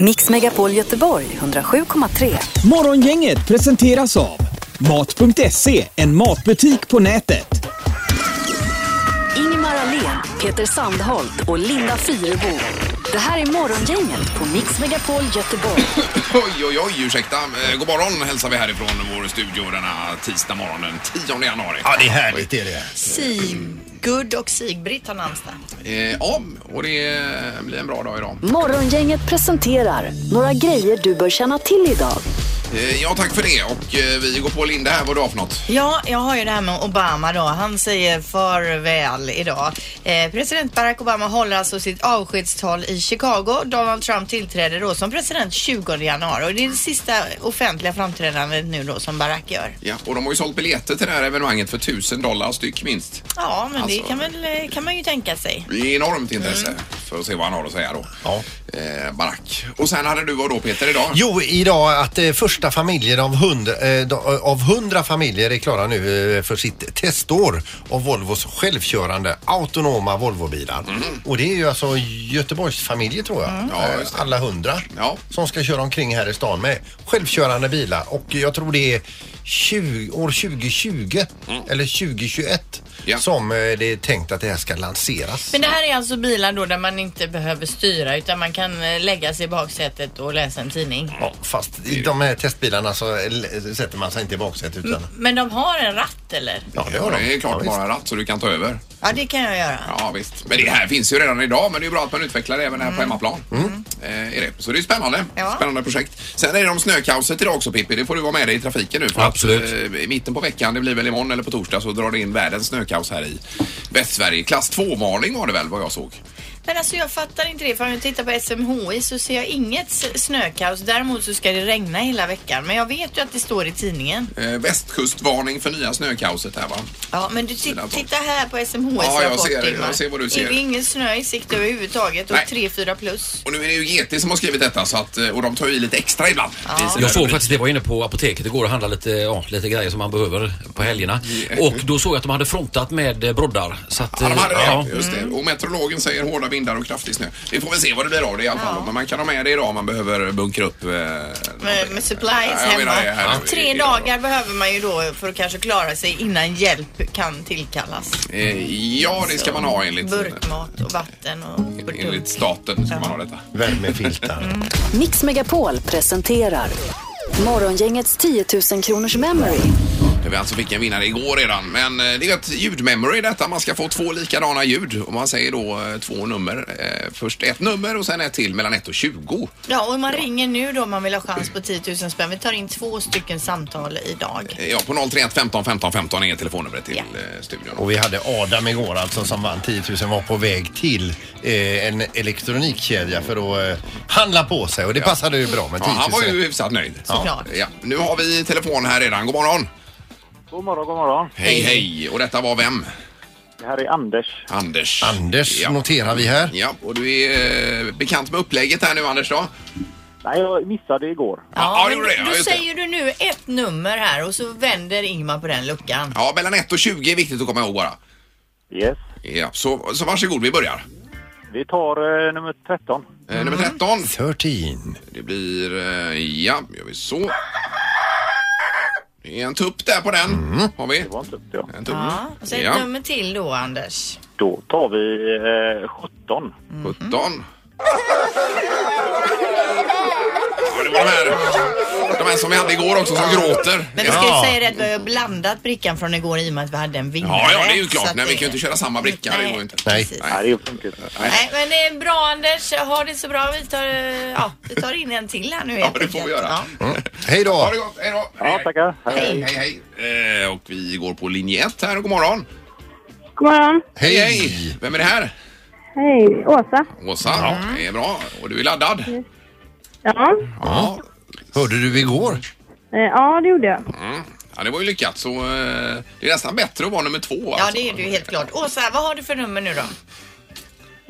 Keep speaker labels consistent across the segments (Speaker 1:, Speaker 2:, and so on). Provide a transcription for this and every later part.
Speaker 1: Mix Megapol Göteborg 107,3.
Speaker 2: Morgongänget presenteras av Mat.se, en matbutik på nätet.
Speaker 1: Ingemar Ahlén, Peter Sandholt och Linda Fyrebo. Det här är Morgongänget på Mix Megapol Göteborg.
Speaker 3: Oj, oj, oj, ursäkta. Eh, God morgon hälsar vi härifrån vår studio denna tisdag morgon den 10 januari.
Speaker 4: Ja, det är härligt det är det.
Speaker 5: Sigurd och Sigbritt har namnsdag.
Speaker 3: Eh, ja, och det eh, blir en bra dag idag.
Speaker 1: Morgongänget presenterar några grejer du bör känna till idag.
Speaker 3: Eh, ja, tack för det. Och eh, vi går på Linda här, vad du har för något.
Speaker 5: Ja, jag har ju det här med Obama då. Han säger farväl idag. Eh, president Barack Obama håller alltså sitt avskedstal i Chicago. Donald Trump tillträder då som president 20 januari och det är det sista offentliga framträdandet nu då som Barack gör.
Speaker 3: Ja, och de har ju sålt biljetter till det här evenemanget för 1000 dollar styck minst.
Speaker 5: Ja, men
Speaker 3: Alltså-
Speaker 5: det kan, väl, eh, kan man ju tänka sig.
Speaker 3: Det är enormt intresse för att se vad han har att säga då.
Speaker 4: Mm. Ja.
Speaker 3: Eh, Barack. Och sen hade du vad då Peter idag?
Speaker 4: Jo, idag att eh, första familjen av hundra, eh, de- av hundra familjer är klara nu eh, för sitt testår av Volvos självkörande autonoma Volvobilar. Och det är ju alltså Göteborgs familjer tror jag.
Speaker 3: Mm. Ja,
Speaker 4: Eh,
Speaker 3: just det.
Speaker 4: Alla hundra
Speaker 3: Ja.
Speaker 4: som ska köra omkring här i stan med självkörande bilar. Och jag tror det är 20, år 2020 eller 2021
Speaker 3: Mm. Ja.
Speaker 4: som eh, det är tänkt att det här ska lanseras.
Speaker 5: Men det här är alltså bilar då där man inte behöver styra utan man kan eh, lägga sig i baksätet och läsa en tidning.
Speaker 4: Ja, fast i de här testbilarna så eh, sätter man sig inte i baksätet
Speaker 3: Mm.
Speaker 4: utan...
Speaker 5: Men de har en ratt eller?
Speaker 4: Ja,
Speaker 3: Ja, det är klart,
Speaker 4: Ja,
Speaker 3: bara ratt så du kan ta över.
Speaker 5: Ja, det kan jag göra.
Speaker 3: Ja, visst. Men det här finns ju redan idag, men det är ju bra att man utvecklar det även här på hemmaplan. Eh, är det. Så det är spännande.
Speaker 5: Ja.
Speaker 3: Spännande projekt. Sen är det om snökaoset idag också Pippi. Det får du vara med dig i trafiken nu. För
Speaker 4: Absolut.
Speaker 3: Att, eh, I mitten på veckan, det blir väl imorgon eller på torsdag, så drar det in världens snökaos här i Västsverige. Klass 2-varning var det väl vad jag såg?
Speaker 5: Men alltså jag fattar inte det. För om jag tittar på SMHI så ser jag inget s- snökaos. Däremot så ska det regna hela veckan. Men jag vet ju att det står i tidningen.
Speaker 3: Eh, västkustvarning för nya snökaoset här va?
Speaker 5: Ja, men du
Speaker 3: Sina
Speaker 5: ti-
Speaker 3: tolv.
Speaker 5: titta här på SMHIs
Speaker 3: Ja, jag
Speaker 5: rapport
Speaker 3: ser det. Jag
Speaker 5: Ingmar.
Speaker 3: ser vad du
Speaker 5: Är
Speaker 3: ser.
Speaker 5: det ingen snö i sikt överhuvudtaget och
Speaker 3: Nej.
Speaker 5: 3-4 plus?
Speaker 3: Och nu är det ju GT som har skrivit detta så att, eh, och de tar ju i lite extra ibland. i sina
Speaker 6: Jag såg
Speaker 3: rubriker.
Speaker 6: faktiskt det, jag var inne på apoteket igår och handlade lite, ja, lite grejer som man behöver på helgerna. Och då såg jag att de hade frontat med eh, broddar. Så att,
Speaker 3: Ja, de hade det.
Speaker 6: eh, ja.
Speaker 3: Just det. Och meteorologen säger hårda vindar och kraftig snö. Vi får väl se vad det blir av det i alla fall. Men man kan ha med det idag om man behöver bunkra upp. Eh,
Speaker 5: Med,
Speaker 3: någonting.
Speaker 5: med
Speaker 3: Ja,
Speaker 5: supplies
Speaker 3: jag menar det
Speaker 5: hemma.
Speaker 3: här nu i-
Speaker 5: Tre
Speaker 3: idag.
Speaker 5: dagar behöver man ju då för att kanske klara sig innan hjälp kan tillkallas.
Speaker 3: Eh, Ja, det ska man ha enligt,
Speaker 5: Burkmat och vatten och
Speaker 3: enligt staten. Ska man ha detta.
Speaker 4: Värmefiltar.
Speaker 3: Mm.
Speaker 1: Mix Megapol presenterar Morgongängets 10 000 kronors memory.
Speaker 3: Där Vi alltså fick en vinnare igår redan. Men eh, det är ett ljudmemory detta. Man ska få två likadana ljud. Och man säger då eh, två nummer. Eh, Först ett nummer och sen ett till mellan 1 och 20.
Speaker 5: Ja, och man ringer nu då om man vill ha chans på 10 000 spänn. Vi tar in två stycken samtal idag.
Speaker 3: Eh, Ja, på 031 15 15 15 är telefonnumret till
Speaker 5: Ja.
Speaker 3: eh, studion.
Speaker 4: Och vi hade Adam igår alltså som vann 10 000 var på väg till eh, en elektronikkedja för att eh, handla på sig och det passade ju bra med
Speaker 3: Ja,
Speaker 4: 10 000.
Speaker 3: han var ju hyfsat nöjd.
Speaker 5: Såklart.
Speaker 3: Ja, nu har vi telefon här redan. God morgon!
Speaker 7: God morgon, god morgon.
Speaker 3: Hej, hej! Och detta var vem?
Speaker 7: Det här är Anders.
Speaker 3: Anders.
Speaker 4: Anders
Speaker 3: ja.
Speaker 4: noterar vi här.
Speaker 3: Ja, och du är eh, bekant med upplägget här nu, Anders då?
Speaker 7: Nej, jag missade igår.
Speaker 3: ja, det
Speaker 5: men
Speaker 3: gjorde det. Ja,
Speaker 5: Då
Speaker 3: just det.
Speaker 5: säger du nu ett nummer här och så vänder Ingmar på den luckan.
Speaker 3: Ja, mellan 1 och 20 är viktigt att komma ihåg bara.
Speaker 7: Yes.
Speaker 3: Ja, så, så varsågod, vi börjar.
Speaker 7: Vi tar eh, nummer 13.
Speaker 3: Eh, Nummer 13.
Speaker 4: 13.
Speaker 3: Det blir... eh, Ja, gör vi så. Det är en tupp där på den. Har vi.
Speaker 7: Det var inte ja.
Speaker 3: En tupp.
Speaker 5: Ja, och så ett
Speaker 3: Ja.
Speaker 5: nummer till då Anders.
Speaker 7: Då tar vi eh, 17.
Speaker 3: 17. Ja, det var de här, de här som vi hade igår också som gråter.
Speaker 5: Men vi ska ju
Speaker 4: Ja.
Speaker 5: säga det att vi har ju blandat brickan från igår i och med att vi hade en vinnare.
Speaker 3: Ja, ja, det är ju
Speaker 5: Så
Speaker 3: klart.
Speaker 5: att
Speaker 3: Nej, vi
Speaker 5: det-
Speaker 3: kan ju inte köra samma bricka. Det går ju inte.
Speaker 4: Nej.
Speaker 5: precis.
Speaker 7: Nej, det funkar inte.
Speaker 5: Nej, men det är bra Anders. Ha det så bra. Vi tar, eh, ja, vi tar in en till här nu
Speaker 3: Ja, det
Speaker 5: helt
Speaker 3: får vi
Speaker 5: enkelt.
Speaker 3: göra.
Speaker 4: Mm. Hej
Speaker 3: Ha
Speaker 4: då!
Speaker 3: det gott. Hej då.
Speaker 7: Ja, tackar.
Speaker 3: Hej, hej. hej. Eh, Och vi går på linje 1 här. God morgon.
Speaker 8: God morgon.
Speaker 4: Hej!
Speaker 3: Hej. Vem är det här?
Speaker 8: Hej, Åsa.
Speaker 3: Åsa. Ja, det är bra. Och du är laddad?
Speaker 8: Ja,
Speaker 3: Ja.
Speaker 4: Hörde du igår?
Speaker 8: eh, ja det gjorde jag.
Speaker 3: Ja, det var ju lyckat. Så eh, det är nästan bättre att vara nummer två.
Speaker 5: Ja,
Speaker 3: alltså.
Speaker 5: det är du helt klart. Åsa, vad har du för nummer nu då?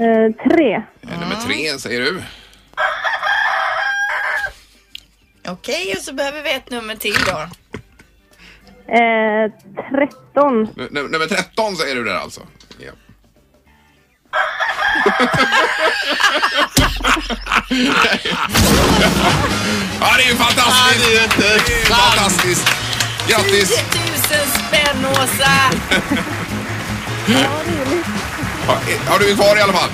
Speaker 8: Eh, tre.
Speaker 3: Eh, Nummer tre säger du.
Speaker 5: Okej, och så behöver vi ett nummer till då.
Speaker 8: Eh, tretton.
Speaker 3: Nu- nu- Nummer 13 säger du där alltså. Ja. Ja, det är ju
Speaker 4: Nej,
Speaker 3: fantastiskt!
Speaker 4: det är ju inte
Speaker 3: Det är ju fantastiskt! Grattis!
Speaker 5: 10 000 spänn Åsa!
Speaker 8: Ja, det är lite.
Speaker 3: Ja, Har du är kvar i alla fall?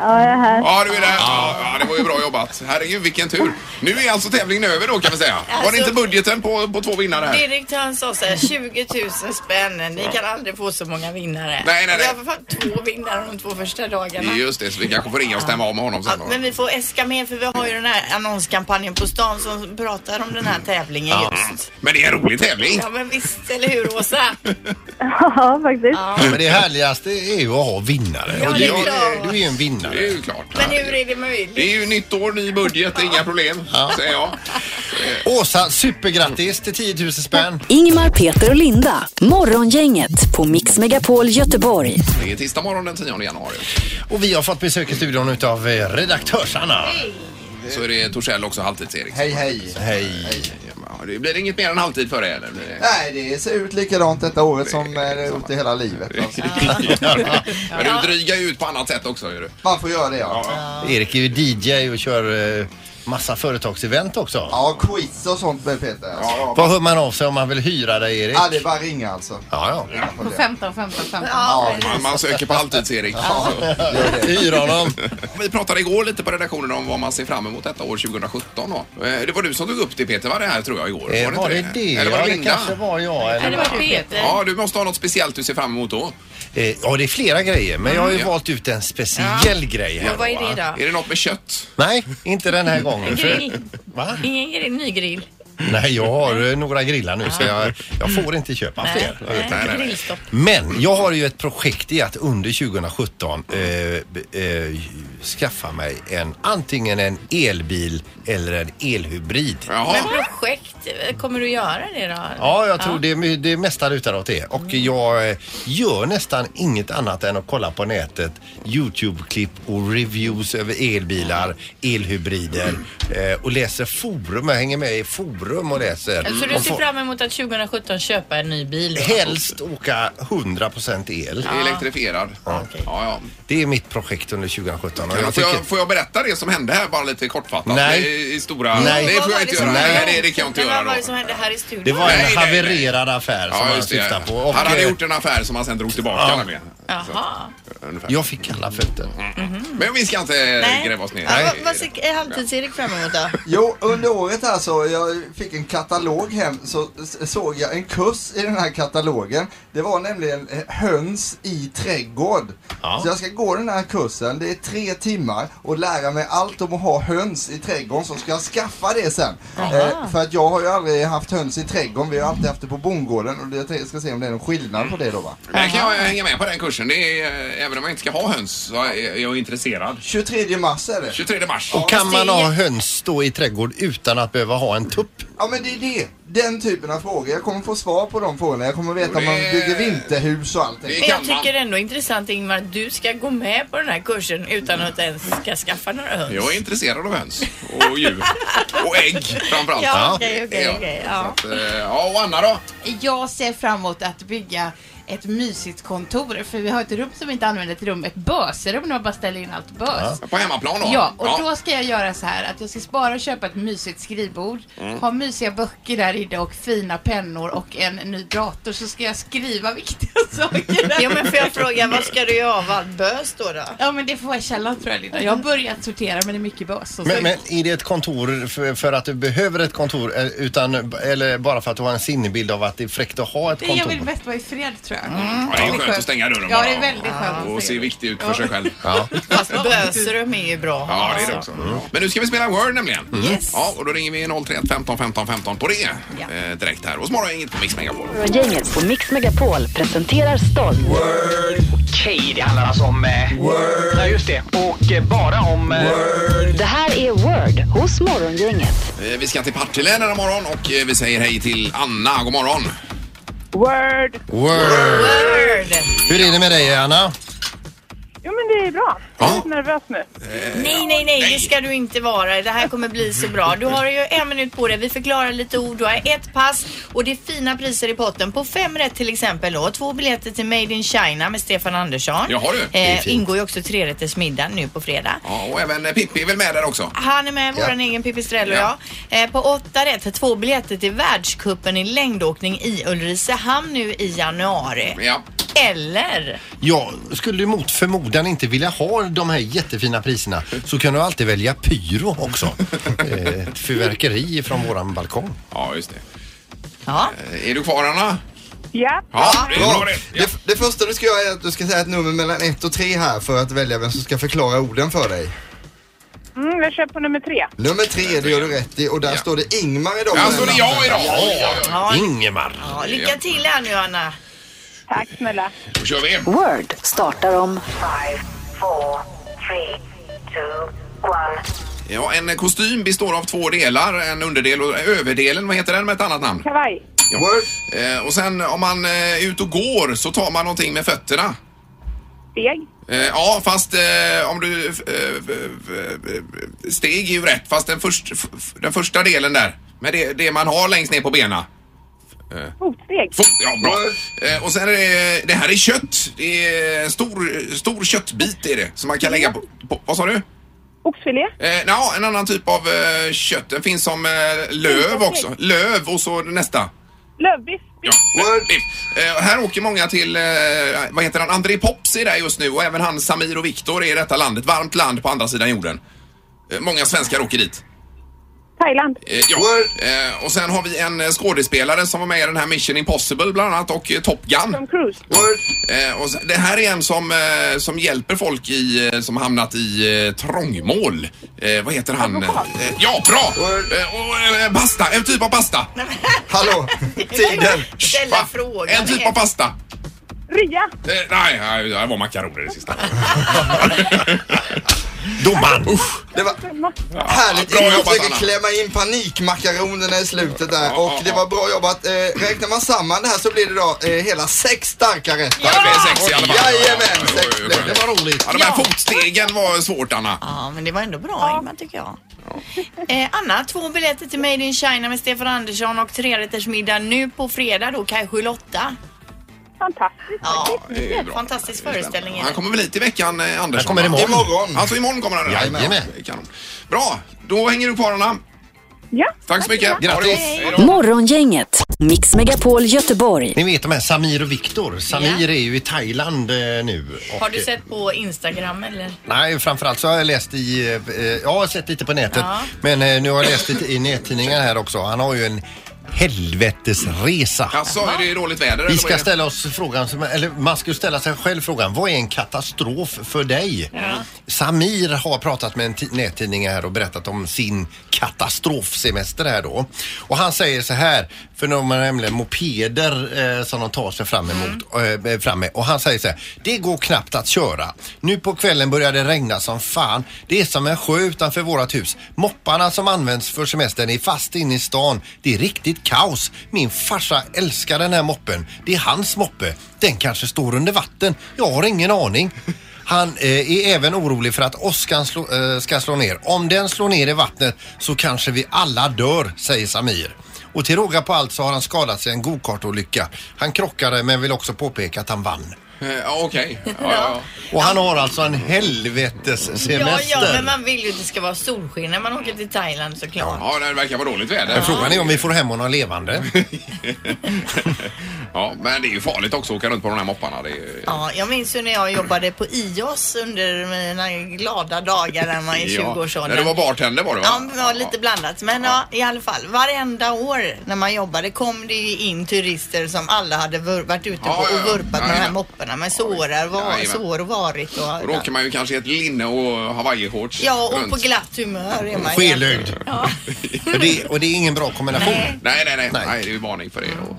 Speaker 8: Ja, jag är här.
Speaker 3: Ja, du är där. Ja, ja, det var ju bra jobbat. Herregud, vilken tur. Nu är alltså tävlingen över då kan vi säga. Var det
Speaker 5: Alltså-
Speaker 3: inte budgeten på, på två vinnare här?
Speaker 5: Direktören sa så här, 20 000 spänn, ni kan aldrig få så många vinnare.
Speaker 3: Nej, nej, nej.
Speaker 5: Vi har för fan två vinnare de två första dagarna.
Speaker 3: Just det, så vi kanske får ringa och stämma av med honom
Speaker 5: Ja,
Speaker 3: sen då.
Speaker 5: men vi får äska mer för vi har ju den här annonskampanjen på stan som pratar om den här tävlingen just.
Speaker 3: Men det är en rolig tävling.
Speaker 5: Ja men visst, eller hur Åsa?
Speaker 8: Ja, faktiskt.
Speaker 4: Men det härligaste är ju att ha vinnare.
Speaker 5: Ja,
Speaker 4: och
Speaker 5: det är
Speaker 4: du,
Speaker 5: klart.
Speaker 4: du är ju en vinnare.
Speaker 3: Det är ju klart.
Speaker 5: Men hur är det möjligt?
Speaker 3: Det är ju nytt år, ny budget, inga problem, säger jag.
Speaker 4: Åsa, supergrattis till 10 000 spänn.
Speaker 1: Ingmar, Peter och Linda. Morgongänget på Mix Megapol Göteborg.
Speaker 3: Det är tisdag morgon den 10 januari.
Speaker 4: Och vi har fått besök i studion utav eh, redaktörs-Anna.
Speaker 3: Så är det Torssell också, halvtids-Erik.
Speaker 9: Hej, hej.
Speaker 4: Hej.
Speaker 3: Ja, det blir inget mer än halvtid för dig eller? Blir det-
Speaker 9: Nej, det ser ut likadant detta året som eh, det har gjort i hela livet. Alltså.
Speaker 3: Men du drygar ju ut på annat sätt också. Gör du.
Speaker 9: Man får göra det, ja.
Speaker 4: Erik är ju DJ och kör eh, massa företagsevent också.
Speaker 9: Ja, quiz och sånt med Peter. Alltså. Ja,
Speaker 4: Vad hör man av sig om man vill hyra dig, Erik?
Speaker 9: det är bara att ringa alltså.
Speaker 4: Ja, ja.
Speaker 10: På 15, 15, 15.
Speaker 5: Ja,
Speaker 3: Man, man söker på halvtids-Erik.
Speaker 4: Hyra honom.
Speaker 3: Vi pratade igår lite på redaktionen om vad man ser fram emot detta år 2017. Då. Eh, Det var du som tog upp det Peter, var det här tror jag igår?
Speaker 4: Eh,
Speaker 3: inte
Speaker 4: Var det det?
Speaker 3: Eller var det
Speaker 4: Ja, det
Speaker 3: Linda?
Speaker 4: kanske var jag.
Speaker 10: Nej, det
Speaker 4: Eller...
Speaker 10: var Peter.
Speaker 3: Ja, du måste ha något speciellt du ser fram emot då.
Speaker 4: Eh, Ja, det är flera grejer, men jag har ju
Speaker 3: ja.
Speaker 4: valt ut en speciell grej här.
Speaker 10: Och
Speaker 4: va?
Speaker 10: vad är det då?
Speaker 3: Är det något med kött?
Speaker 4: Nej, inte den här gången. För...
Speaker 10: Grill.
Speaker 4: Va?
Speaker 10: Ingen grill, ny grill.
Speaker 4: Nej, jag har eh, några grillar nu så jag, jag får inte köpa fler.
Speaker 10: Nej,
Speaker 3: nej, nej.
Speaker 10: grillstopp.
Speaker 4: Men jag har ju ett projekt i att under 2017 eh, b- eh, skaffa mig en antingen en elbil eller en elhybrid.
Speaker 10: Men
Speaker 3: Jaha.
Speaker 10: projekt, kommer du göra det då?
Speaker 4: Ja, jag tror det, my- det mesta lutar åt det. Och
Speaker 10: Mm.
Speaker 4: jag eh, gör nästan inget annat än att kolla på nätet, YouTube-klipp och reviews över elbilar, elhybrider eh, och läser forum. Jag hänger med i forum och läser.
Speaker 3: Mm.
Speaker 10: Så du
Speaker 4: Och
Speaker 10: ser
Speaker 4: får-
Speaker 10: fram emot att 2017 köpa en ny bil? då?
Speaker 4: Helst åka 100% el.
Speaker 3: Elektrifierad. Ja, ja.
Speaker 4: Det är mitt projekt under 2017. Och jag
Speaker 3: Får,
Speaker 4: tycker-
Speaker 3: Alltså, jag, får jag berätta det som hände här bara lite kortfattat?
Speaker 4: Nej.
Speaker 3: Det är I stora...
Speaker 4: Nej.
Speaker 3: det får
Speaker 5: Vad var
Speaker 3: jag inte
Speaker 5: det som
Speaker 3: göra.
Speaker 5: hände?
Speaker 3: Nej, det, det kan jag inte
Speaker 5: Men
Speaker 3: göra
Speaker 5: vad
Speaker 3: då.
Speaker 5: var det som hände här i studion?
Speaker 4: Det var
Speaker 3: Nej, nej,
Speaker 4: en
Speaker 3: nej.
Speaker 4: havererad affär som
Speaker 3: Ja,
Speaker 4: han
Speaker 3: just det.
Speaker 4: syftar på. Och,
Speaker 3: han hade
Speaker 4: eh,
Speaker 3: gjort en affär som han sen drog tillbaka nämligen.
Speaker 10: Jaha.
Speaker 3: Ungefär.
Speaker 4: Jag fick kalla fötter.
Speaker 3: Mm. Men vi ska inte
Speaker 5: Nej.
Speaker 3: gräva oss ner.
Speaker 5: Ja, vad, vad ser är halvtids-Erik fram emot då?
Speaker 9: Jo, under året här så jag fick en katalog hem så s- såg jag en kurs i den här katalogen. Det var nämligen eh, höns i trädgård.
Speaker 4: Ja.
Speaker 9: Så jag ska gå den här kursen, det är tre timmar och lära mig allt om att ha höns i trädgården så ska jag skaffa det sen. Eh, för att jag har ju aldrig haft höns i trädgården, vi har alltid haft det på bondgården och det- jag tänkte- ska se om det är någon skillnad på det då va.
Speaker 3: Men jag kan jag hänga med på den kursen. Det är, eh, även om jag inte ska ha höns så är jag intresserad.
Speaker 9: 23 mars är det.
Speaker 3: 23 mars.
Speaker 4: Och kan man ha höns då i trädgård utan att behöva ha en tupp?
Speaker 9: Ja men det är det. Den typen av frågor. Jag kommer få svar på de frågorna. Jag kommer veta
Speaker 3: Jo,
Speaker 9: om man
Speaker 3: det-
Speaker 9: bygger vinterhus och allting.
Speaker 3: Det
Speaker 10: Men jag
Speaker 3: kan man.
Speaker 10: tycker ändå intressant Ingmar att du ska gå med på den här kursen utan att ens ska skaffa några höns.
Speaker 3: Jag är intresserad av höns och djur. Och ägg framförallt.
Speaker 10: Ja, okej, okej,
Speaker 3: Ja.
Speaker 10: okej.
Speaker 3: Så
Speaker 10: Ja.
Speaker 3: att, eh, ja, och Anna då?
Speaker 10: Jag ser fram emot att bygga ett mysigt kontor för vi har ett rum som vi inte använder till rum, ett bösrum där man bara ställer in allt bös.
Speaker 3: På hemmaplan då?
Speaker 10: Ja, och då ska jag göra så här att jag ska spara och köpa ett mysigt skrivbord,
Speaker 4: Mm.
Speaker 10: ha mysiga böcker där inne och fina pennor och en ny dator så ska jag skriva viktiga saker där.
Speaker 5: Jo men får jag fråga, vad ska du göra av allt bös då? då?
Speaker 10: Ja men det får vara i källaren tror jag Linda. Jag har börjat sortera men det är mycket bös. och så-
Speaker 4: Men, men är det ett kontor för, för att du behöver ett kontor eh, utan, eller bara för att du har en sinnebild av att det är fräckt att ha ett
Speaker 10: Det jag
Speaker 4: kontor?
Speaker 10: vill mest vara i fred tror jag.
Speaker 3: Ja, det är ju skönt att stänga dörren
Speaker 10: Ja,
Speaker 3: bara.
Speaker 10: det är väldigt skönt att
Speaker 3: Och se
Speaker 10: stänga.
Speaker 3: viktig ut för sig själv.
Speaker 4: Ja.
Speaker 5: Fast bösrum är ju bra.
Speaker 3: Ja, det är det också. Mm. Men nu ska vi spela Word nämligen. Ja, och då ringer vi 031 15 15 15 på det eh, direkt här. Och så inget på Mix Megapol.
Speaker 1: Morgongänget på Mix Megapol presenterar stolt.
Speaker 11: Okej, det handlar alltså om... Eh, Word. Ja, just det. Och eh, bara om... Eh,
Speaker 1: Det här är Word hos Morgongänget.
Speaker 3: Eh, Vi ska till Partille den här morgon och eh, vi säger hej till Anna. God morgon.
Speaker 8: Word!
Speaker 4: Word.
Speaker 5: Word.
Speaker 10: Alltså,
Speaker 4: Hur är det med dig Anna?
Speaker 8: Jo, men det det är bra. Jag är lite nervös nu.
Speaker 5: Nej, nej, nej, det ska du inte vara. Det här kommer bli så bra. Du har ju en minut på dig. Vi förklarar lite ord. Du har ett pass och det är fina priser i potten. På fem rätt till exempel då. Två biljetter till Made in China med Stefan Andersson.
Speaker 3: Jaha, du. Det är
Speaker 5: Eh,
Speaker 3: fint.
Speaker 5: ingår ju också trerättersmiddagen nu på fredag.
Speaker 3: Ja, och även eh, Pippi är väl med där också?
Speaker 5: Han är med, våran egen Pipistrello ja. Eh, på åtta rätt, för två biljetter till världscupen i längdåkning i Ulricehamn nu i januari.
Speaker 3: Ja.
Speaker 5: Eller?
Speaker 4: Jag skulle du mot förmodan inte vilja ha de här jättefina priserna så kan du alltid välja pyro också. Eh, Ett fyrverkeri från våran balkong.
Speaker 3: Ja, just det.
Speaker 5: Ja.
Speaker 3: Eh, Är du kvar Anna?
Speaker 8: Ja.
Speaker 3: Ja, det är bra
Speaker 9: det. Det första du ska göra är att du ska säga ett nummer mellan 1 och 3 här för att välja vem som ska förklara orden för dig.
Speaker 8: Mm, jag kör på nummer tre.
Speaker 9: Nummer 3, det gör du rätt i och där står det Ingmar idag.
Speaker 8: Där står det jag idag.
Speaker 5: Ja.
Speaker 4: Ingemar.
Speaker 5: Ja, lycka till här nu Anna.
Speaker 8: Tack snälla.
Speaker 3: Då kör vi.
Speaker 1: Word startar om...
Speaker 3: Ja, en eh, kostym består av två delar, en underdel och eh, överdelen, vad heter den med ett annat namn?
Speaker 8: Kavaj.
Speaker 3: Ja. Eh, och sen om man eh, är ute och går så tar man någonting med fötterna.
Speaker 8: Steg.
Speaker 3: Eh, ja, fast eh, om du... Eh, eh, eh, steg är ju rätt, fast den, först, f- f- den första delen där, med det, det man har längst ner på benen.
Speaker 8: Fotsteg.
Speaker 3: Fot, ja, bra. Eh, och sen är det, det här är kött. Det är en stor, stor köttbit är det, som man kan lägga på... på vad sa du?
Speaker 8: Oxfilé.
Speaker 3: Eh, ja, en annan typ av eh, kött. Den finns som eh, löv också. Löv och så nästa.
Speaker 8: Lövbiff.
Speaker 3: Ja, biff. eh, här åker många till, eh, vad heter han, André Pops är där just nu och även han Samir och Viktor är i detta land. Ett varmt land på andra sidan jorden. Eh, många svenskar åker dit.
Speaker 8: Thailand.
Speaker 3: Eh, ja. eh, och sen har vi en eh, skådespelare som var med i den här Mission Impossible bland annat och eh, Top Gun.
Speaker 5: Mm.
Speaker 8: Tom Cruise.
Speaker 3: Eh, och sen, det här är en som, eh, som hjälper folk i, eh, som hamnat i eh, trångmål. Eh, vad heter han? Eh, ja, bra! Eh, och, eh, pasta, en typ av pasta.
Speaker 9: Hallå, tiden.
Speaker 5: Ställa frågan.
Speaker 3: En typ av pasta.
Speaker 8: Ria.
Speaker 3: Eh, nej, nej, det här var makaroner det sista.
Speaker 4: Domaren!
Speaker 9: Det var härligt.
Speaker 3: bra
Speaker 9: Bra
Speaker 3: jobbat,
Speaker 9: försöker
Speaker 3: Anna.
Speaker 9: klämma in panikmakaronerna i slutet där och det var bra jobbat. Eh, räknar man samman det här så blir det då eh, hela sex starka rätter.
Speaker 3: Ja, det är sex i alla fall.
Speaker 9: Jajamän, sex.
Speaker 3: Det var roligt. Ja, de här fotstegen var svårt, Anna.
Speaker 5: Ja, men det var ändå bra Ingmar tycker jag. Eh, Anna, två biljetter till Made in China med Stefan Andersson och trerättersmiddag nu på fredag då, kanske Lotta.
Speaker 8: Fantastiskt.
Speaker 5: Ja,
Speaker 3: det är bra.
Speaker 5: fantastisk föreställning. är
Speaker 3: Han
Speaker 5: det.
Speaker 3: kommer väl hit i veckan, eh, Andersson?
Speaker 4: Han kommer
Speaker 3: va?
Speaker 4: imorgon.
Speaker 3: Alltså imorgon kommer han? redan?
Speaker 4: Jajamän.
Speaker 3: Kanon. Bra, då hänger du kvar, Anna.
Speaker 8: Ja.
Speaker 3: Tack så mycket. Ha det gott. Hej då.
Speaker 1: Morgongänget, Mix Megapol Göteborg.
Speaker 4: Ni vet de här Samir och Viktor. Samir är ju i Thailand eh, nu. och-
Speaker 5: Har du sett på Instagram eller?
Speaker 4: Nej, framförallt så har jag läst i, eh, eh, jag har sett lite på nätet,
Speaker 5: Ja.
Speaker 4: men eh, nu har jag läst lite i nättidningar här också. Han har ju en helvetesresa.
Speaker 3: Alltså, är det dåligt väder? eller
Speaker 4: Vi
Speaker 3: vad är
Speaker 4: ska
Speaker 3: det?
Speaker 4: ställa oss frågan, som- eller man ska ju ställa sig själv frågan, vad är en katastrof för dig? Samir har pratat med en ti- nättidning här och berättat om sin katastrofsemester här då. Och han säger så här, för de har nämligen mopeder eh, som de tar sig fram, emot, eh, fram med. Och han säger så här, det går knappt att köra. Nu på kvällen börjar det regna som fan. Det är som en sjö utanför vårat hus. Mopparna som används för semestern är fast inne i stan. Det är riktigt kaos. Min farsa älskar den här moppen. Det är hans moppe. Den kanske står under vatten. Jag har ingen aning. Han eh, är även orolig för att åskan slå, eh, ska slå ner. Om den slår ner i vattnet så kanske vi alla dör, säger Samir. Och till råga på allt så har han skadat sig i en gokartolycka. Han krockade men vill också påpeka att han vann.
Speaker 3: Eh, ja, Okej. Ja, ja,
Speaker 4: Och han har alltså en helvetes
Speaker 5: Ja,
Speaker 4: semester.
Speaker 5: ja, men man vill ju att det ska vara solsken när man åker till Thailand såklart.
Speaker 3: ja. ja, det verkar vara dåligt väder.
Speaker 4: Men Frågan är om vi får hem honom levande.
Speaker 3: Ja, men det är ju farligt också att åka runt på de här mopparna. Det är... ju-
Speaker 5: Ja, jag minns ju när jag jobbade på IOS under mina glada dagar när man var i
Speaker 3: Ja.
Speaker 5: 20-årsåldern.
Speaker 3: När du var bartender var det va?
Speaker 5: Ja, det var lite blandat. Men ja. i alla fall, varenda år när man jobbade kom det ju in turister som alla hade vur- varit ute på
Speaker 3: Ja, ja,
Speaker 5: och
Speaker 3: ja.
Speaker 5: vurpat med de här
Speaker 3: Jajamän.
Speaker 5: mopporna med sårar, var,
Speaker 3: Jajamän.
Speaker 5: sår och varit. Och,
Speaker 3: Och då åker man ju kanske i ett linne och hawaiishorts
Speaker 5: ja, och
Speaker 3: runt.
Speaker 5: på glatt humör är man ju.
Speaker 4: Skelögd.
Speaker 5: Ja.
Speaker 4: Och det, och det är ingen bra kombination.
Speaker 3: Nej, nej, nej. nej. det är ju varning för det. Och,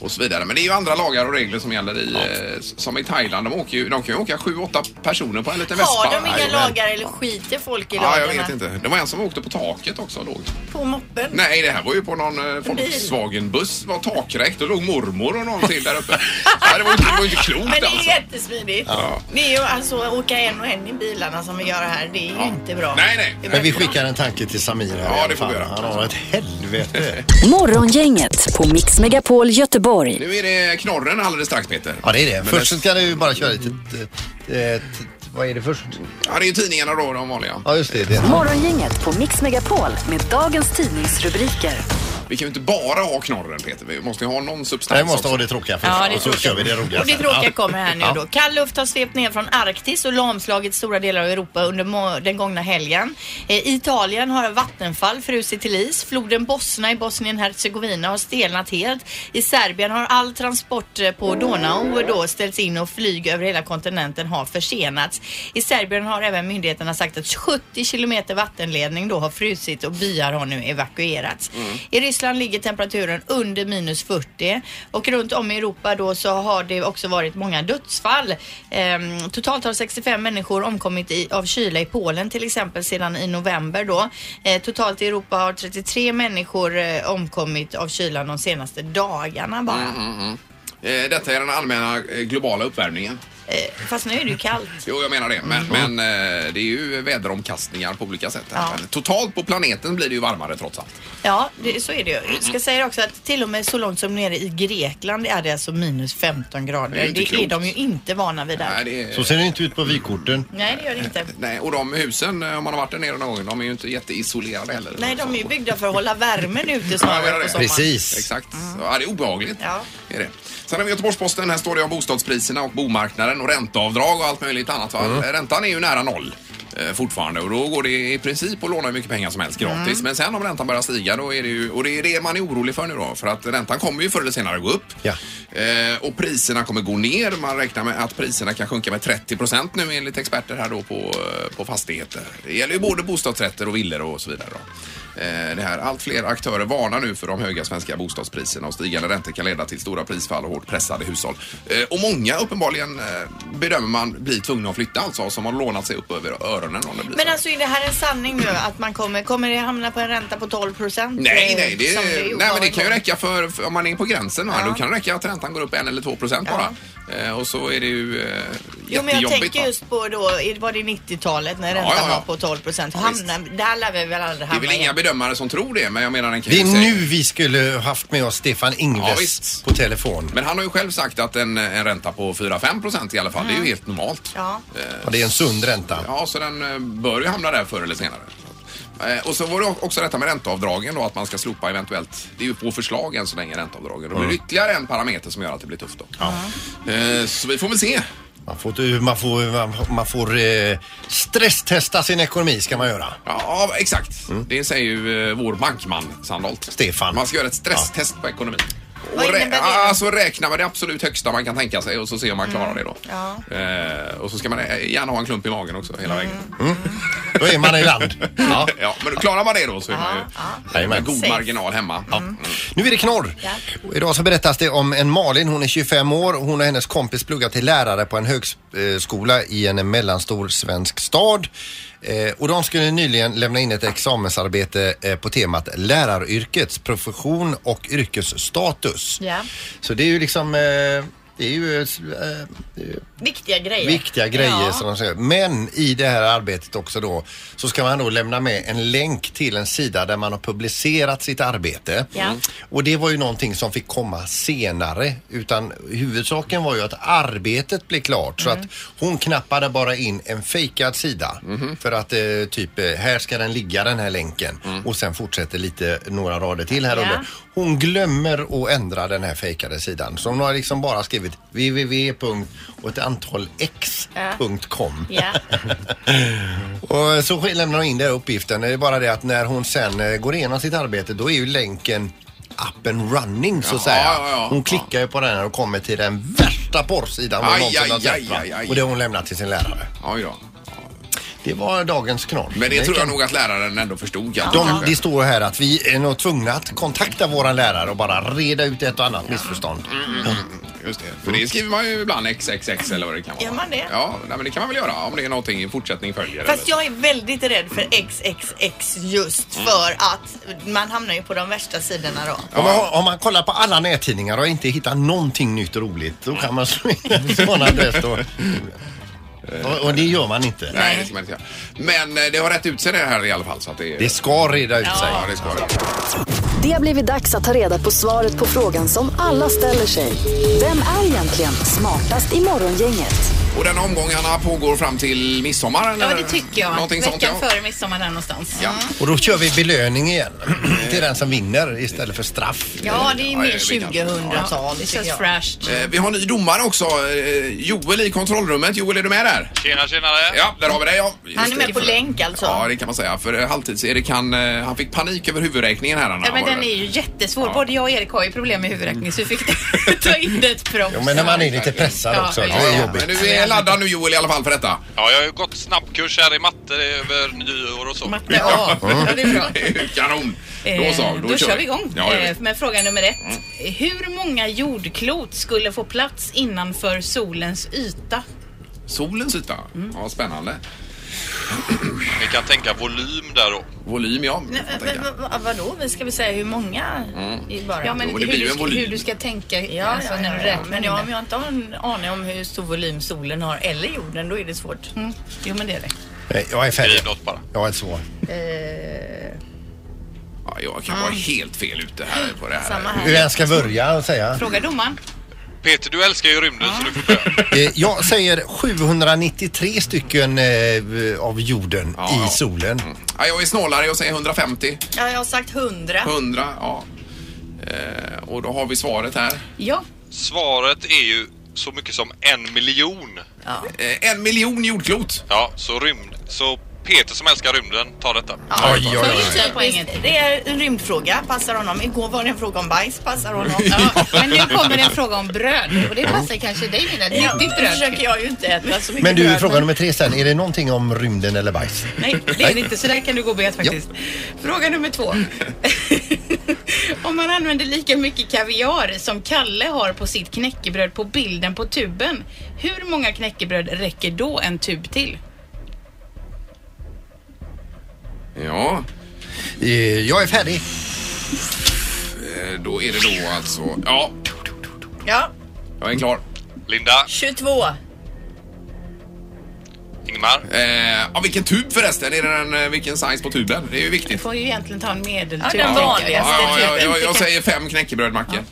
Speaker 3: och så vidare. Men det är ju andra lagar och regler som gäller i, eh, som i Thailand. De, åker ju, de kan ju åka sju, åtta personer på en liten vespa.
Speaker 5: Har de inga
Speaker 3: Jajamän.
Speaker 5: lagar eller skiter folk i
Speaker 3: Ja,
Speaker 5: lagarna?
Speaker 3: jag vet inte. Det var en som åkte på taket också låg.
Speaker 5: På moppen?
Speaker 3: Nej, det här var ju på någon eh, Volkswagen-buss. Det var takräckt och låg mormor och någon till där uppe. Nej, det var ju det var ju inte klokt
Speaker 5: Men det är
Speaker 3: alltså.
Speaker 5: jättesmidigt.
Speaker 3: Ja.
Speaker 5: Det är ju alltså åka en och en i bilarna som vi gör här. Det är ju inte bra.
Speaker 3: Nej, nej.
Speaker 5: Det är
Speaker 4: Men vi
Speaker 5: bättre-
Speaker 4: skickar en tanke till Samir här.
Speaker 3: Ja, det får vi göra.
Speaker 4: Han har ett helvete.
Speaker 1: Morgongänget på Mix Megapol Göteborg.
Speaker 3: Nu är det knorren alldeles strax, Peter.
Speaker 4: Ja, det är det.
Speaker 3: Men
Speaker 4: Först
Speaker 3: det-
Speaker 4: ska du bara köra lite... eh, eh, t- Vad är det först?
Speaker 3: Ja, det är ju tidningarna då, de vanliga.
Speaker 4: Ja, just det. det.
Speaker 1: Morgongänget på Mix Megapol med dagens tidningsrubriker.
Speaker 3: Vi kan ju inte bara ha knorren, Peter. Vi måste ju ha någon substans
Speaker 4: Nej, vi måste
Speaker 3: också.
Speaker 4: ha det tråkiga först.
Speaker 5: Ja, det är
Speaker 4: och så
Speaker 5: tråkigt.
Speaker 4: kör vi det roliga
Speaker 5: Och det
Speaker 4: sen.
Speaker 5: tråkiga
Speaker 4: Ja.
Speaker 5: kommer här nu
Speaker 4: Ja.
Speaker 5: då. Kall luft har svept ner från Arktis och lamslagit stora delar av Europa under må- den gångna helgen. Eh, I Italien har vattenfall frusit till is. Floden Bosna i bosnien herzegovina har stelnat helt. I Serbien har all transport eh, på Donau då ställts in och flyg över hela kontinenten har försenats. I Serbien har även myndigheterna sagt att 70 kilometer vattenledning då har frusit och byar har nu evakuerats. I Ryssland ligger temperaturen under minus 40 och runt om i Europa då så har det också varit många dödsfall. Ehm, totalt har 65 människor omkommit i, av kyla i Polen till exempel sedan i november då. Eh, totalt i Europa har 33 människor eh, omkommit av kylan de senaste dagarna bara.
Speaker 3: Eh, Detta är den allmänna eh, globala uppvärmningen.
Speaker 5: Eh, fast nu är det ju kallt.
Speaker 3: Jo, jag menar det. Men, men eh, det är ju väderomkastningar på olika sätt. Här.
Speaker 5: Mm. Ja.
Speaker 3: Men Totalt på planeten blir det ju varmare trots allt.
Speaker 5: Ja, det, så är det ju. Jag
Speaker 3: Mm.
Speaker 5: ska säga också att till och med så långt som nere i Grekland är det alltså minus 15 grader.
Speaker 3: Det är
Speaker 5: Det
Speaker 3: ju
Speaker 5: är,
Speaker 3: inte klokt.
Speaker 5: de ju inte vana vid där.
Speaker 3: Nej, det är...
Speaker 4: Så ser det inte ut på vykorten.
Speaker 5: Nej, det gör det inte.
Speaker 3: Nej, och de husen, eh, om man har varit där nere någon gång, de är ju inte jätteisolerade heller.
Speaker 5: Nej, de är ju
Speaker 3: Så-
Speaker 5: byggda för att hålla värmen ute
Speaker 3: Ja, jag menar
Speaker 5: snarare på
Speaker 3: det.
Speaker 5: sommaren.
Speaker 4: Precis.
Speaker 3: Exakt. Ja, det är obehagligt.
Speaker 5: Mm. Ja.
Speaker 3: Är det. Sen har vi Göteborgs-Posten. Här står det om bostadspriserna och bomarknaden och ränteavdrag och allt möjligt annat. Va?
Speaker 5: Mm.
Speaker 3: Räntan är ju nära noll eh, fortfarande och då går det i princip att låna hur mycket pengar som helst gratis.
Speaker 5: Mm.
Speaker 3: Men sen om räntan börjar stiga då är det ju, och det är det man är orolig för nu då, för att räntan kommer ju förr eller senare gå upp.
Speaker 4: Ja.
Speaker 3: Eh, och priserna kommer gå ner. Man räknar med att priserna kan sjunka med 30 procent nu enligt experter här då på, eh, på fastigheter. Det gäller ju både bostadsrätter och villor och så vidare. Då. Eh, det här, allt fler aktörer varnar nu för de höga svenska bostadspriserna och stigande räntor kan leda till stora prisfall och hårt pressade hushåll. Eh, och många uppenbarligen eh, bedömer man blir tvungna att flytta alltså som har lånat sig upp över öronen om det blir
Speaker 5: Men
Speaker 3: så.
Speaker 5: alltså är det här en sanning nu att man kommer, kommer det hamna på en ränta på 12 procent? Eh,
Speaker 3: Nej, nej, det,
Speaker 5: Som det,
Speaker 3: nej men det kan ju räcka för, för om man är på gränsen. Va? Då kan det räcka att räntan går upp en eller två procent bara. Eh, och så är det ju eh,
Speaker 5: Jo, men jag
Speaker 3: jättejobbigt.
Speaker 5: tänker
Speaker 3: va?
Speaker 5: just på då, var det 90-talet när räntan
Speaker 3: ja, ja.
Speaker 5: var på 12 procent? Där lär vi väl aldrig
Speaker 3: Det är
Speaker 5: hamna
Speaker 3: väl inga
Speaker 5: igen.
Speaker 3: bedömare som tror det, men jag menar den kan
Speaker 4: Det
Speaker 3: ju
Speaker 4: är
Speaker 3: säga-
Speaker 4: nu vi skulle haft med oss Stefan
Speaker 3: Ja,
Speaker 4: Ingves
Speaker 3: visst.
Speaker 4: på telefon.
Speaker 3: Men han har ju själv sagt att en, en ränta på 4-5 procent i alla fall, det är ju helt normalt.
Speaker 5: Mm. Ja.
Speaker 4: Ja, det är en sund ränta.
Speaker 3: Ja, så den eh, bör ju hamna där förr eller senare. Eh, Och så var det också detta med ränteavdragen då, att man ska slopa eventuellt, det är ju på förslag än så länge ränteavdragen. Då
Speaker 4: Mm.
Speaker 3: blir det ytterligare en parameter som gör att det blir tufft då. Eh, Så vi får väl se.
Speaker 4: Man får, man får, man- man får eh, stresstesta sin ekonomi ska man göra.
Speaker 3: Ja, exakt. Det säger ju eh, vår bankman Sandholt.
Speaker 4: Stefan.
Speaker 3: Man ska göra ett stresstest på ekonomin.
Speaker 5: Vad
Speaker 3: Och rä-
Speaker 5: innebär det då?
Speaker 3: alltså räkna med det absolut högsta man kan tänka sig och så se om man
Speaker 5: Mm.
Speaker 3: klarar det då. Eh, och så ska man eh, gärna ha en klump i magen också hela
Speaker 5: Mm.
Speaker 3: vägen.
Speaker 4: Då är man i land. Ja.
Speaker 3: Ja, men klarar man det då så är man ju med
Speaker 4: Jajamän.
Speaker 3: god
Speaker 5: Safe.
Speaker 3: marginal hemma. Mm.
Speaker 4: Nu är det knorr. Och Idag så berättas det om en Malin, hon är 25 år. Hon och hennes kompis pluggar till lärare på en högskola i en mellanstor svensk stad. Eh, och de skulle nyligen lämna in ett examensarbete eh, på temat läraryrkets profession och yrkesstatus.
Speaker 5: Ja.
Speaker 4: Så det är ju liksom eh, det är ju eh,
Speaker 5: Viktiga grejer.
Speaker 4: Viktiga grejer
Speaker 5: Ja.
Speaker 4: som de säger. Men i det här arbetet också då så ska man då lämna med en länk till en sida där man har publicerat sitt arbete.
Speaker 5: Ja.
Speaker 4: Och det var ju någonting som fick komma senare utan huvudsaken var ju att arbetet blev klart så
Speaker 5: Mm.
Speaker 4: att hon knappade bara in en fejkad sida
Speaker 5: Mm-hmm.
Speaker 4: för att eh, typ eh, här ska den ligga den här länken och sen fortsätter lite några rader till här
Speaker 5: Mm. Ja.
Speaker 4: under. Hon glömmer att ändra den här fejkade sidan. Så hon har liksom bara skrivit www. och ett antal x.com.
Speaker 5: Ja.
Speaker 4: Och så sk- lämnar hon in den här uppgiften. Det är bara det att när hon sen eh, går igenom sitt arbete då är ju länken up and running så att
Speaker 3: Jaha,
Speaker 4: säga.
Speaker 3: ja, ja.
Speaker 4: Hon klickar ju på den här och kommer till den värsta porrsidan hon
Speaker 3: Aj,
Speaker 4: någonsin
Speaker 3: aj,
Speaker 4: har sett.
Speaker 3: aj,
Speaker 4: va?
Speaker 3: aj, aj.
Speaker 4: Och det har hon lämnat till sin lärare.
Speaker 3: Oj då.
Speaker 4: Det Det var dagens knorr.
Speaker 3: Men det, tror jag
Speaker 4: kan-
Speaker 3: nog att läraren ändå förstod. Ja.
Speaker 4: De, det står här att vi är nog tvungna att kontakta våran lärare och bara reda ut ett och annat missförstånd.
Speaker 3: Just det. För
Speaker 4: Mm.
Speaker 3: det skriver man ju ibland XXX eller vad det kan vara.
Speaker 5: Gör man det?
Speaker 3: Ja, nej, men det kan man väl göra om det är någonting i fortsättning följer.
Speaker 5: Fast
Speaker 3: eller-
Speaker 5: jag är väldigt rädd för XXX just
Speaker 12: Mm.
Speaker 5: för att man hamnar ju på de värsta sidorna då.
Speaker 4: Om, man, om man kollar på alla nättidningar och inte hittar någonting nytt och roligt då kan man slå in en sån adress då. Och, och det gör man inte.
Speaker 3: Nej, det ska man inte göra. Men eh, det har rätt ut sig det här i alla fall. Så att det...
Speaker 4: Det ska reda ut sig.
Speaker 3: Ja, det ska det.
Speaker 1: Det har blivit dags att ta reda på svaret på frågan som alla ställer sig. Vem är egentligen smartast i morgongänget?
Speaker 3: Och den omgångarna pågår fram till midsommar? Eller?
Speaker 12: Ja, det tycker jag.
Speaker 3: Någonting sånt,
Speaker 12: Veckan
Speaker 3: ja.
Speaker 12: före midsommar där någonstans.
Speaker 3: Ja.
Speaker 4: Och då kör vi belöning igen till den som vinner istället för straff.
Speaker 12: Ja, det är
Speaker 3: Ja,
Speaker 12: mer
Speaker 3: det är viktigt.
Speaker 12: 2000-tal. Det känns fräscht.
Speaker 3: Eh, Vi har ny domare också. eh, Joel i kontrollrummet. Joel, är du med där?
Speaker 13: Tjena, tjenare!
Speaker 3: Ja, där har vi dig. Ja. Just
Speaker 5: Han är
Speaker 3: det.
Speaker 5: med på länk alltså.
Speaker 3: Ja, det kan man säga. För eh, halvtids-Erik, han, eh, han fick panik över huvudräkningen här. Anna.
Speaker 12: Ja, men
Speaker 3: Var det
Speaker 12: den
Speaker 3: väl?
Speaker 12: är ju jättesvår. Både jag och Erik har ju problem med huvudräkning så vi fick ta in det ett proffs.
Speaker 4: Ja, men när man är lite pressad också, det är jobbigt.
Speaker 3: Men du är laddad nu Joel i alla fall för detta.
Speaker 13: Ja, jag har ju gått snabbkurs här i matte över nyår och så. Matte
Speaker 12: Ja, ja, det är bra.
Speaker 3: Kanon! Då
Speaker 12: Eh,
Speaker 3: så, då,
Speaker 12: kör vi Mm. igång
Speaker 3: Ja, jag
Speaker 12: eh,
Speaker 3: vet.
Speaker 12: med fråga nummer ett. Hur många jordklot skulle få plats innanför solens yta?
Speaker 3: Solens yta.
Speaker 12: Mm.
Speaker 3: Ja, spännande.
Speaker 13: Vi kan tänka volym där då.
Speaker 3: Volym, ja.
Speaker 12: Nej, men, men, vad- vadå? Vi ska väl säga hur många?
Speaker 3: Mm.
Speaker 12: i Bara.
Speaker 3: Ja,
Speaker 12: Ja,
Speaker 3: men
Speaker 12: men
Speaker 3: Jo, det hur
Speaker 12: hur, du
Speaker 3: blir ju du en ska-
Speaker 12: ska,
Speaker 3: volym. hur du
Speaker 12: tänka
Speaker 5: Ja,
Speaker 12: alltså,
Speaker 5: ja,
Speaker 12: när du
Speaker 5: ja,
Speaker 12: räknar.
Speaker 5: men
Speaker 12: Men
Speaker 5: ja,
Speaker 12: ja,
Speaker 5: om jag inte har en aning om hur stor volym solen har eller jorden, då är det svårt.
Speaker 12: Jo, men det är det.
Speaker 4: Eh, Jag är färdig.
Speaker 13: Skriv något bara.
Speaker 4: Jag har ett svar.
Speaker 3: Ja, jag kan
Speaker 5: Mm.
Speaker 3: vara helt fel ute här på det här.
Speaker 12: Samma
Speaker 4: Hur jag ska börja och säga?
Speaker 12: Fråga domaren.
Speaker 13: Peter, du älskar ju rymden så du får börja.
Speaker 4: Eh, Jag säger 793 stycken eh, av jorden i solen.
Speaker 3: Ja, Mm. jag är snålare, jag säger 150.
Speaker 5: Ja, jag har sagt hundra.
Speaker 3: 100, ja. Eh, och då har vi svaret här.
Speaker 12: Ja.
Speaker 13: Svaret är ju så mycket som en miljon.
Speaker 3: Eh, en miljon jordklot.
Speaker 13: Ja, så rymd... Så Peter som älskar rymden, ta detta.
Speaker 4: Oj, oj, oj.
Speaker 5: Visst, Det är en rymdfråga, passar honom. Igår var det en fråga om bajs, passar honom.
Speaker 10: Men nu kommer en fråga om bröd och det passar kanske dig Linda.
Speaker 5: Ja,
Speaker 10: Ditt, ditt
Speaker 5: nu
Speaker 10: bröd.
Speaker 5: försöker jag ju inte äta så mycket
Speaker 4: Men du,
Speaker 5: bröd,
Speaker 4: fråga nummer tre sen. Är det någonting om rymden eller bajs?
Speaker 12: Nej, det är det inte. Så där kan du gå bet faktiskt. Fråga nummer två. Om man använder lika mycket kaviar som Kalle har på sitt knäckebröd på bilden på tuben, hur många knäckebröd räcker då en tub till?
Speaker 3: Ja.
Speaker 4: Jag är färdig.
Speaker 3: Eh, då är det då alltså... Ja,
Speaker 5: Ja,
Speaker 3: jag är klar.
Speaker 13: Linda.
Speaker 5: 22.
Speaker 13: Ingmar.
Speaker 3: Eh, ja, vilken tub förresten? Är det den, eh, vilken size på tuben? Det är ju
Speaker 12: Du
Speaker 3: viktigt.
Speaker 12: får ju egentligen ta en medeltub.
Speaker 5: Ja, den
Speaker 12: tänker jag.
Speaker 5: vanligaste
Speaker 3: Ja, ja,
Speaker 5: tuben.
Speaker 3: jag,
Speaker 5: typ.
Speaker 3: jag säger fem knäckebrödmackor.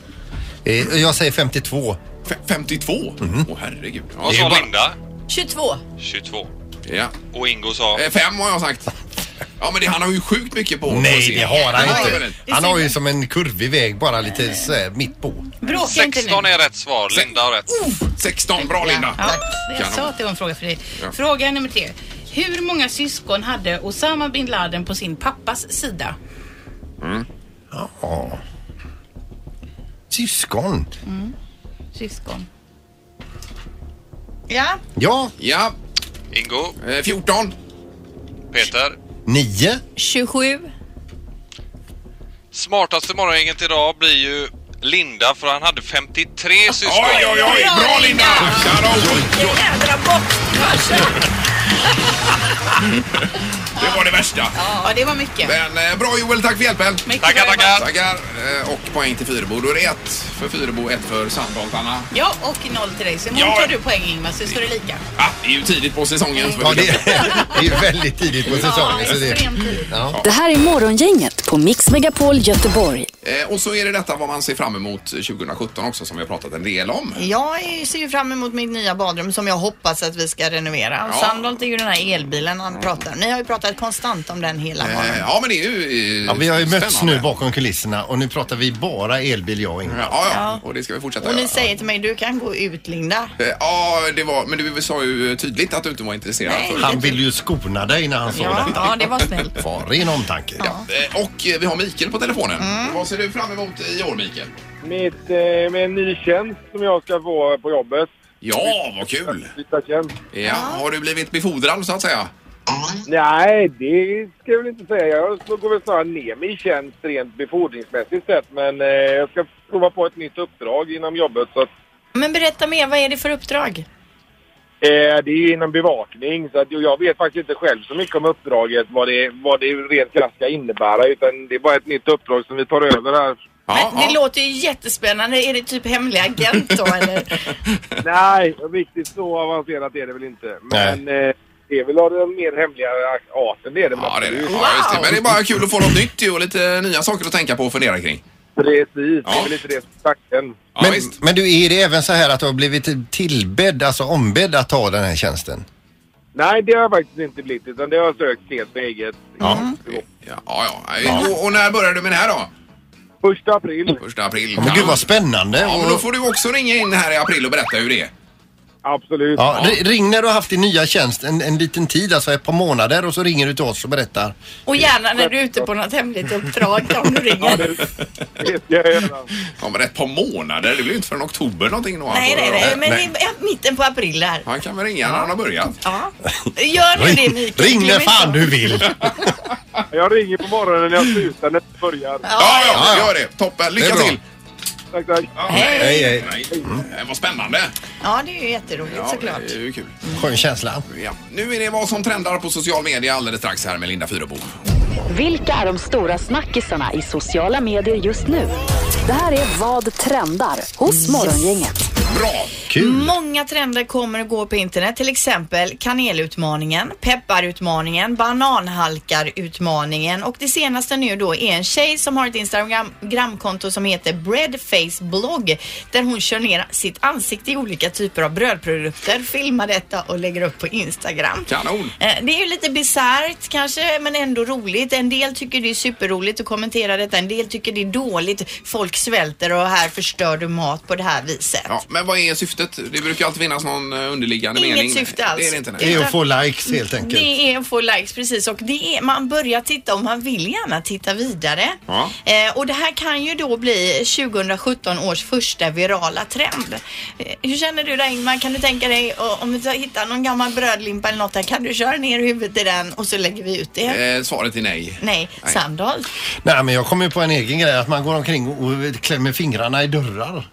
Speaker 4: Eh, Jag säger 52.
Speaker 3: F- 52? Åh
Speaker 4: Mhm.
Speaker 3: herregud.
Speaker 13: Vad
Speaker 3: Det är
Speaker 13: sa
Speaker 3: bara-
Speaker 13: Linda?
Speaker 5: 22.
Speaker 13: 22.
Speaker 3: Ja.
Speaker 13: Och Ingo sa?
Speaker 3: Eh, fem har jag sagt. Ja, men det, han har ju sjukt mycket på på
Speaker 4: Nej,
Speaker 3: sin-
Speaker 4: det har han
Speaker 3: Ja,
Speaker 4: inte.
Speaker 3: men-
Speaker 4: Han har ju som en kurvig väg bara lite så här, mitt på.
Speaker 12: Bråka inte nu.
Speaker 13: 16 är rätt svar. Linda har rätt.
Speaker 3: Oh! 16, bra Linda.
Speaker 12: Ja, jag
Speaker 3: Kanon.
Speaker 12: sa att det var en fråga för dig.
Speaker 3: Ja.
Speaker 12: Fråga nummer tre. Hur många syskon hade Osama bin Laden på sin pappas sida?
Speaker 4: Ja. Syskon.
Speaker 12: Syskon.
Speaker 5: Ja,
Speaker 4: Ja,
Speaker 3: Ja,
Speaker 13: Ingo.
Speaker 3: eh, 14.
Speaker 13: Peter.
Speaker 4: nio.
Speaker 5: 27.
Speaker 13: Smartaste morgongänget idag blir ju Linda för han hade 53 syskon.
Speaker 3: Oj, oj, oj! Bra Linda! Kanon! Oj, oj.
Speaker 5: Jädra bock!
Speaker 3: Det var det värsta.
Speaker 12: Ja, det var mycket.
Speaker 3: Men eh, bra Joel, tack för hjälpen.
Speaker 12: Mycket
Speaker 13: Tackar,
Speaker 12: bra jobbat.
Speaker 13: tackar.
Speaker 3: Tackar. Eh, och poäng till Fyrebo. Då är det ett för Fyrebo, ett för Sandholt, Anna.
Speaker 12: Ja, och noll till dig. Så imorgon
Speaker 3: Ja.
Speaker 12: tar du poäng Ingmar, så står det lika.
Speaker 3: Ah, det är ju tidigt på säsongen.
Speaker 4: Ja, det det är ju väldigt tidigt på säsongen. Så det,
Speaker 12: extremt tidigt.
Speaker 4: ja.
Speaker 1: Det här är morgongänget på Mix Megapol Göteborg.
Speaker 3: Eh, och så är det detta vad man ser fram emot 2017 också som vi har pratat en del om.
Speaker 5: Jag är- ser ju fram emot mitt nya badrum som jag hoppas att vi ska renovera. Och
Speaker 3: Ja.
Speaker 5: Sandholt är ju den här elbilen han pratar om. Ni har ju pratat konstant om den hela
Speaker 3: Eh,
Speaker 5: morgonen.
Speaker 3: ja, men det är ju eh,
Speaker 4: Ja, vi har ju mötts
Speaker 3: spännande.
Speaker 4: nu bakom kulisserna och nu pratar vi bara elbil jag och Ingmar.
Speaker 3: Ja, ja, och det ska vi fortsätta
Speaker 5: Och ni
Speaker 3: göra.
Speaker 5: säger till mig, du kan gå ut Linda.
Speaker 3: Eh, Ja, det var, men du sa ju tydligt att du inte var intresserad.
Speaker 5: Nej.
Speaker 3: förut.
Speaker 4: Han vill ju skona dig när han såg
Speaker 12: Ja,
Speaker 4: detta.
Speaker 12: ja, det var snällt.
Speaker 4: Var ren omtanke.
Speaker 3: Eh, Och eh, vi har Mikael på telefonen.
Speaker 5: Mm.
Speaker 3: Vad ser du fram emot i år, Mikael?
Speaker 14: Mitt, eh, med en ny tjänst som jag ska få på jobbet.
Speaker 3: Ja, vad kul!
Speaker 14: Byta tjänst.
Speaker 3: Ja, har du blivit befordrad så att säga?
Speaker 14: Nej, det ska jag väl inte säga. Jag går väl snarare ner mig i tjänst rent befordringsmässigt sett. Men eh, jag ska prova på ett nytt uppdrag inom jobbet. Så att,
Speaker 5: Men berätta mer, vad är det för uppdrag?
Speaker 14: eh, det är inom bevakning. Så att, och jag vet faktiskt inte själv så mycket om uppdraget, vad det, vad det rent krasst ska innebära. Utan det är bara ett nytt uppdrag som vi tar över här.
Speaker 5: Men det låter ju jättespännande. Är det typ hemlig agent då eller?
Speaker 14: Nej, riktigt så avancerat är det väl inte. Men eh, det är väl av den mer hemliga arten, det är det. Ja, det är det.
Speaker 3: Ja, just det. Men det är bara kul att få något nytt ju och lite nya saker att tänka på och fundera kring.
Speaker 14: Precis, det är väl lite det som är tanken.
Speaker 4: Men, men du, är det även så här att du har blivit tillbedd, alltså ombedd att ta den här tjänsten?
Speaker 14: Nej, det har jag faktiskt inte blivit, utan det har jag sökt helt på eget. Ja.
Speaker 3: Ja, ja. Och, och när börjar du med det här då?
Speaker 14: Första april.
Speaker 3: Första april.
Speaker 4: Ja, men gud vad spännande.
Speaker 3: Ja, men
Speaker 4: och-
Speaker 3: då får du också ringa in här i april och berätta hur det är.
Speaker 14: Absolut.
Speaker 4: Ja, ri- Ring när du har haft din nya tjänst en, en liten tid, alltså ett par månader och så ringer du till oss och berättar.
Speaker 5: Och gärna när du är ute på något hemligt uppdrag då, om du ringer.
Speaker 3: Ja, men ett par månader. Det blir ju inte förrän oktober någonting då.
Speaker 5: Nej, nej, nej. Men
Speaker 3: Nej.
Speaker 5: i i mitten på april där.
Speaker 3: Han kan väl ringa när han har börjat.
Speaker 5: Ja. Gör nu det Mikael. Glöm inte.
Speaker 4: du vill.
Speaker 14: jag ringer på morgonen när jag slutar, när det börjar.
Speaker 3: Ja, ja, gör det. Toppen. Lycka till.
Speaker 14: Tack, tack.
Speaker 3: Hej, hej. Eh, Vad spännande.
Speaker 5: Ja, det är ju jätteroligt
Speaker 3: Ja,
Speaker 5: såklart.
Speaker 3: det är ju kul.
Speaker 4: Skön känsla.
Speaker 3: Ja. Nu är det vad som trendar på social media alldeles strax här med Linda Fyrebo.
Speaker 1: Vilka är de stora snackisarna i sociala medier just nu? Det här är Vad trendar hos Morgongänget.
Speaker 3: Bra!
Speaker 5: Många trender kommer att gå på internet, till exempel kanelutmaningen, pepparutmaningen, bananhalkarutmaningen och det senaste nu då är en tjej som har ett Instagramkonto som heter Breadfaceblogg där hon kör ner sitt ansikte i olika typer av brödprodukter, filmar detta och lägger upp på Instagram.
Speaker 3: Kanon!
Speaker 5: Eh, Det är ju lite bisarrt kanske men ändå roligt. En del tycker det är superroligt att kommentera detta. En del tycker det är dåligt. Folk svälter och här förstör du mat på det här viset.
Speaker 3: Ja, men vad är syftet? Det brukar ju alltid finnas någon eh, underliggande
Speaker 5: Inget
Speaker 3: mening.
Speaker 5: syfte
Speaker 3: Det
Speaker 5: alls.
Speaker 3: är det inte. nej.
Speaker 4: Det är att få likes helt enkelt.
Speaker 5: Det är att få likes precis och det är, man börjar titta och man vill gärna titta vidare.
Speaker 4: Ja.
Speaker 5: Eh, och det här kan ju då bli 2017 års första virala trend. Eh, hur känner du där Ingmar? Kan du tänka dig och, om du hittar någon gammal brödlimpa eller något där, kan du köra ner huvudet i den och så lägger vi ut det?
Speaker 3: Eh, svaret är nej.
Speaker 5: Nej, Sandholt.
Speaker 4: Nej, men jag kom ju på en egen grej att man går omkring och och klämmer fingrarna i dörrar.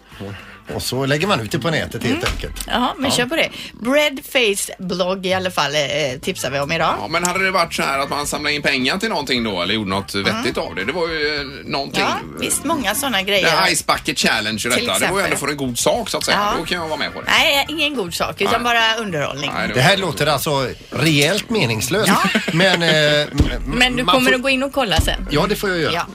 Speaker 4: Och så lägger man ut det på nätet
Speaker 5: Mm.
Speaker 4: helt enkelt.
Speaker 5: Jaha, men
Speaker 4: Ja.
Speaker 5: kör på det. Breadface blogg i alla fall eh, tipsar vi om idag.
Speaker 3: Ja, men hade det varit så här att man samlade in pengar till någonting då eller gjorde något vettigt av det? Det var ju eh, någonting.
Speaker 5: Ja, visst många sådana
Speaker 3: Det här
Speaker 5: grejer.
Speaker 3: Ice Bucket Challenge och detta, det var
Speaker 5: exempel.
Speaker 3: ju ändå för en god sak så att säga.
Speaker 5: Ja.
Speaker 3: Då kan jag vara med på det.
Speaker 5: Nej, ingen god sak utan bara underhållning.
Speaker 4: Det här låter alltså rejält meningslöst. Men, eh,
Speaker 5: Men du
Speaker 4: man
Speaker 5: kommer
Speaker 4: får-
Speaker 5: att gå in och kolla sen?
Speaker 4: Ja, det får jag göra.
Speaker 5: Ja.